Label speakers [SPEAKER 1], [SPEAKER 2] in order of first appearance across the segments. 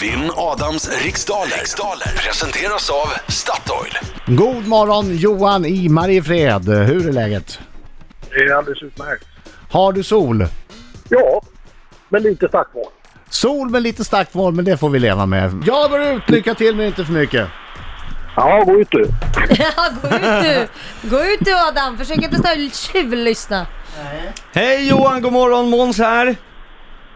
[SPEAKER 1] Vinn Adams riksdaler. riksdaler presenteras av Statoil.
[SPEAKER 2] God morgon Johan i Mariefred. Hur är läget?
[SPEAKER 3] Det är alldeles utmärkt.
[SPEAKER 2] Har du sol?
[SPEAKER 3] Ja, men lite starkt var.
[SPEAKER 2] Sol med lite starkt moln, men det får vi leva med. Jag går ut, lycka till men inte för mycket.
[SPEAKER 3] Ja, gå ut du.
[SPEAKER 4] Ja, gå ut du! Gå ut du Adam, försök inte stå tjuvlyssna.
[SPEAKER 5] Hej Johan, god morgon, Måns här.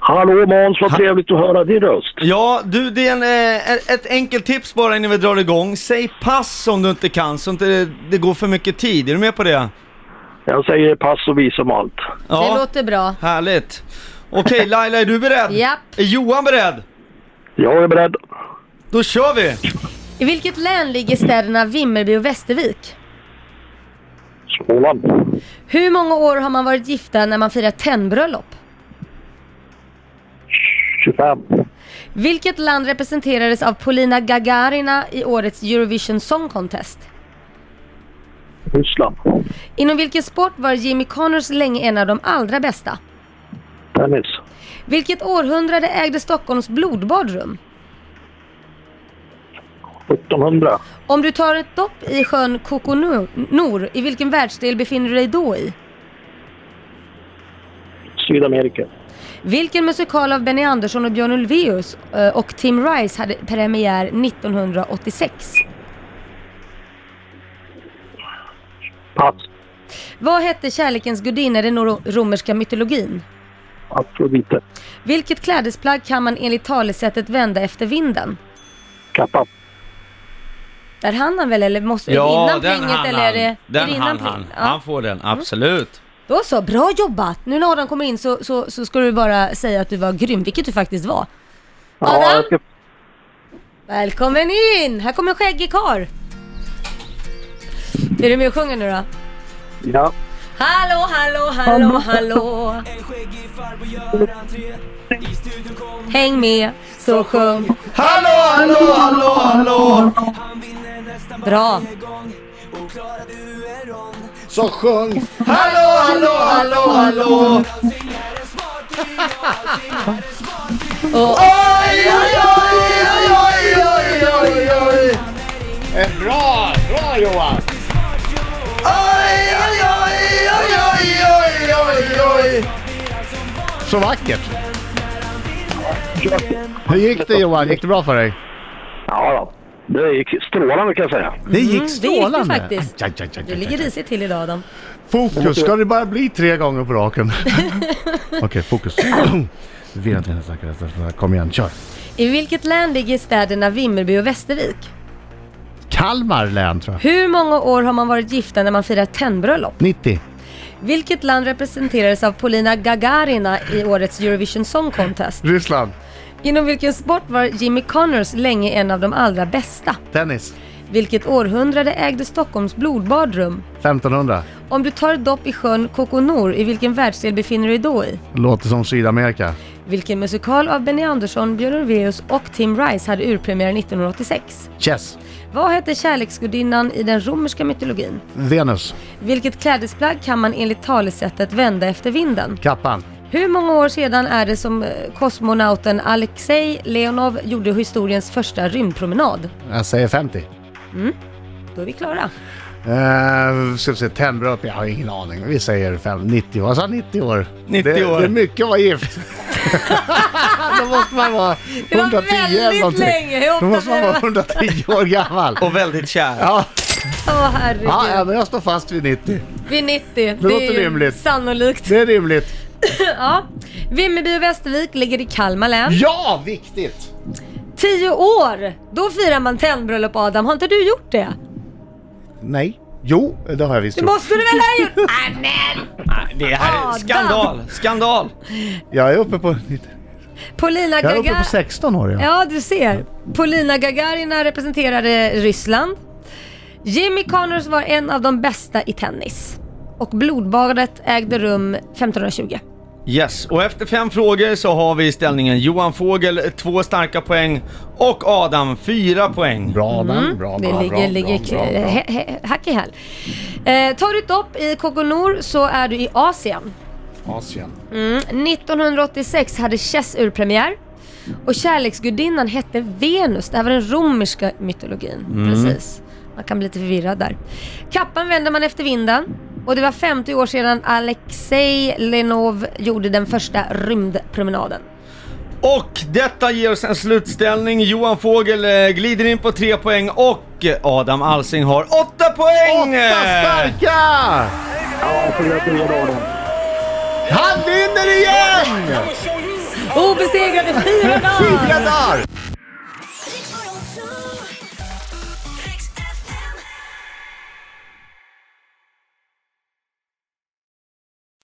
[SPEAKER 3] Hallå Måns, vad trevligt att höra din röst.
[SPEAKER 5] Ja, du det är en, eh, ett enkelt tips bara innan vi drar igång. Säg pass om du inte kan så inte det, det går för mycket tid. Är du med på det?
[SPEAKER 3] Jag säger pass och vis om allt.
[SPEAKER 4] Det
[SPEAKER 5] Ja,
[SPEAKER 4] låter bra.
[SPEAKER 5] härligt. Okej Laila, är du beredd?
[SPEAKER 4] Japp.
[SPEAKER 5] Är Johan beredd?
[SPEAKER 3] Jag är beredd.
[SPEAKER 5] Då kör vi!
[SPEAKER 4] I vilket län ligger städerna Vimmerby och Västervik?
[SPEAKER 3] Småland.
[SPEAKER 4] Hur många år har man varit gifta när man firar tennbröllop?
[SPEAKER 3] 25.
[SPEAKER 4] Vilket land representerades av Polina Gagarina i årets Eurovision Song Contest?
[SPEAKER 3] Ryssland.
[SPEAKER 4] Inom vilken sport var Jimmy Connors länge en av de allra bästa?
[SPEAKER 3] Tennis.
[SPEAKER 4] Vilket århundrade ägde Stockholms blodbadrum?
[SPEAKER 3] 1700.
[SPEAKER 4] Om du tar ett dopp i sjön Kokonor, i vilken världsdel befinner du dig då i?
[SPEAKER 3] Sydamerika.
[SPEAKER 4] Vilken musikal av Benny Andersson och Björn Ulvaeus eh, och Tim Rice hade premiär 1986?
[SPEAKER 3] Pass.
[SPEAKER 4] Vad hette kärlekens gudinna i den ro- romerska mytologin?
[SPEAKER 3] Afrodite.
[SPEAKER 4] Vilket klädesplagg kan man enligt talesättet vända efter vinden?
[SPEAKER 3] Kappa.
[SPEAKER 4] Där hann han väl eller måste innan plinget eller är det, är det innan
[SPEAKER 5] hann
[SPEAKER 4] pling?
[SPEAKER 5] han.
[SPEAKER 4] Ja.
[SPEAKER 5] Han får den, absolut.
[SPEAKER 4] Då så, bra jobbat! Nu när Adam kommer in så, så, så ska du bara säga att du var grym, vilket du faktiskt var. Adam,
[SPEAKER 3] jag ska...
[SPEAKER 4] välkommen in! Här kommer en skäggig karl. Är du med och sjunger nu då?
[SPEAKER 3] Ja.
[SPEAKER 4] Hallå, hallå, hallå, hallå Häng med, så sjung
[SPEAKER 5] Hallå, hallå, hallå, hallå!
[SPEAKER 4] Bra! Mm,
[SPEAKER 2] Så sjung!
[SPEAKER 5] Hallå, hallå, hallå, hallå!
[SPEAKER 4] Och
[SPEAKER 5] Oj, oj, oj, oj, oj, oj, oj, oj!
[SPEAKER 2] Bra! Bra Johan!
[SPEAKER 5] Oj, oj, oj, oj, oj, oj, oj, oj.
[SPEAKER 2] Så vackert! Hur gick det Johan? Gick det bra för dig?
[SPEAKER 3] Ja, då. det gick strålande kan jag säga.
[SPEAKER 2] Det gick
[SPEAKER 4] Mm, det gick det
[SPEAKER 2] strålande!
[SPEAKER 4] faktiskt.
[SPEAKER 2] Aj, aj, aj, aj,
[SPEAKER 4] Du
[SPEAKER 2] aj.
[SPEAKER 4] ligger risigt till idag Adam.
[SPEAKER 2] Fokus! Ska det bara bli tre gånger på raken? Okej, fokus. Vill inte ens snacka detta. Kom igen, kör!
[SPEAKER 4] I vilket län ligger städerna Vimmerby och Västervik?
[SPEAKER 2] Kalmar län tror jag.
[SPEAKER 4] Hur många år har man varit gifta när man firar tennbröllop?
[SPEAKER 2] 90.
[SPEAKER 4] Vilket land representerades av Polina Gagarina i årets Eurovision Song Contest?
[SPEAKER 2] Ryssland.
[SPEAKER 4] Inom vilken sport var Jimmy Connors länge en av de allra bästa?
[SPEAKER 2] Tennis.
[SPEAKER 4] Vilket århundrade ägde Stockholms blodbadrum?
[SPEAKER 2] 1500.
[SPEAKER 4] Om du tar ett dopp i sjön Kokonor, i vilken världsdel befinner du dig då i?
[SPEAKER 2] Låter som Sydamerika.
[SPEAKER 4] Vilken musikal av Benny Andersson, Björn Ulvaeus och Tim Rice hade urpremiär 1986?
[SPEAKER 2] Chess.
[SPEAKER 4] Vad hette kärleksgudinnan i den romerska mytologin?
[SPEAKER 2] Venus.
[SPEAKER 4] Vilket klädesplagg kan man enligt talesättet vända efter vinden?
[SPEAKER 2] Kappan.
[SPEAKER 4] Hur många år sedan är det som eh, kosmonauten Alexej Leonov gjorde historiens första rymdpromenad?
[SPEAKER 2] Jag säger 50.
[SPEAKER 4] Då är vi klara.
[SPEAKER 2] Uh, ska vi se, tändbröd? Jag har ingen aning. Vi säger fem, 90 år. Jag sa 90 år.
[SPEAKER 5] 90
[SPEAKER 2] det,
[SPEAKER 5] år.
[SPEAKER 2] Det är mycket att vara gift. Då måste man vara 110
[SPEAKER 4] Det var
[SPEAKER 2] eller
[SPEAKER 4] väldigt
[SPEAKER 2] någonting.
[SPEAKER 4] länge. Hur ofta
[SPEAKER 2] Då måste man
[SPEAKER 4] blev
[SPEAKER 2] vara
[SPEAKER 4] man-
[SPEAKER 2] 110 år gammal.
[SPEAKER 5] Och väldigt kär.
[SPEAKER 2] Ja,
[SPEAKER 4] Åh
[SPEAKER 2] ja, ja,
[SPEAKER 4] herregud.
[SPEAKER 2] men jag står fast vid 90.
[SPEAKER 4] Vid 90. Det,
[SPEAKER 2] låter
[SPEAKER 4] är ju
[SPEAKER 2] rimligt.
[SPEAKER 4] Sannolikt.
[SPEAKER 2] Det är rimligt.
[SPEAKER 4] Ja. Vimmerby och Västervik ligger i Kalmar län.
[SPEAKER 2] Ja, viktigt!
[SPEAKER 4] Tio år! Då firar man tennbröllop Adam. Har inte du gjort det?
[SPEAKER 2] Nej. Jo, det har jag visst
[SPEAKER 4] Det
[SPEAKER 2] gjort.
[SPEAKER 4] måste du väl ha gjort? Ah, men.
[SPEAKER 5] Nej, Det här är
[SPEAKER 4] Adam.
[SPEAKER 5] skandal, skandal.
[SPEAKER 2] Jag är uppe på 90.
[SPEAKER 4] Polina
[SPEAKER 2] Jag är uppe på
[SPEAKER 4] Gaga...
[SPEAKER 2] 16 år. Ja.
[SPEAKER 4] Ja, du ser. Polina Gagarina representerade Ryssland. Jimmy Connors var en av de bästa i tennis. Och blodbadet ägde rum 1520.
[SPEAKER 5] Yes, och efter fem frågor så har vi ställningen Johan Fågel två starka poäng och Adam fyra poäng.
[SPEAKER 2] Bra, mm. bra, bra,
[SPEAKER 4] Det
[SPEAKER 2] bra,
[SPEAKER 4] ligger,
[SPEAKER 2] bra,
[SPEAKER 4] ligger
[SPEAKER 2] bra, bra.
[SPEAKER 4] he- he- hack i häl. Eh, tar du ett dopp i Kokonor så är du i Asien.
[SPEAKER 2] Asien.
[SPEAKER 4] Mm. 1986 hade Chess urpremiär. Och kärleksgudinnan hette Venus. Det här var den romerska mytologin. Precis. Man kan bli lite förvirrad där. Kappan vänder man efter vinden. Och det var 50 år sedan Alexej Lenov gjorde den första rymdpromenaden.
[SPEAKER 5] Och detta ger oss en slutställning. Johan Fågel eh, glider in på tre poäng och Adam Alsing har åtta poäng!
[SPEAKER 2] Åtta starka!
[SPEAKER 3] Ja, får gratulera Adam.
[SPEAKER 2] Han vinner igen!
[SPEAKER 4] Obesegrade fyra dagar!
[SPEAKER 2] Fyra dagar!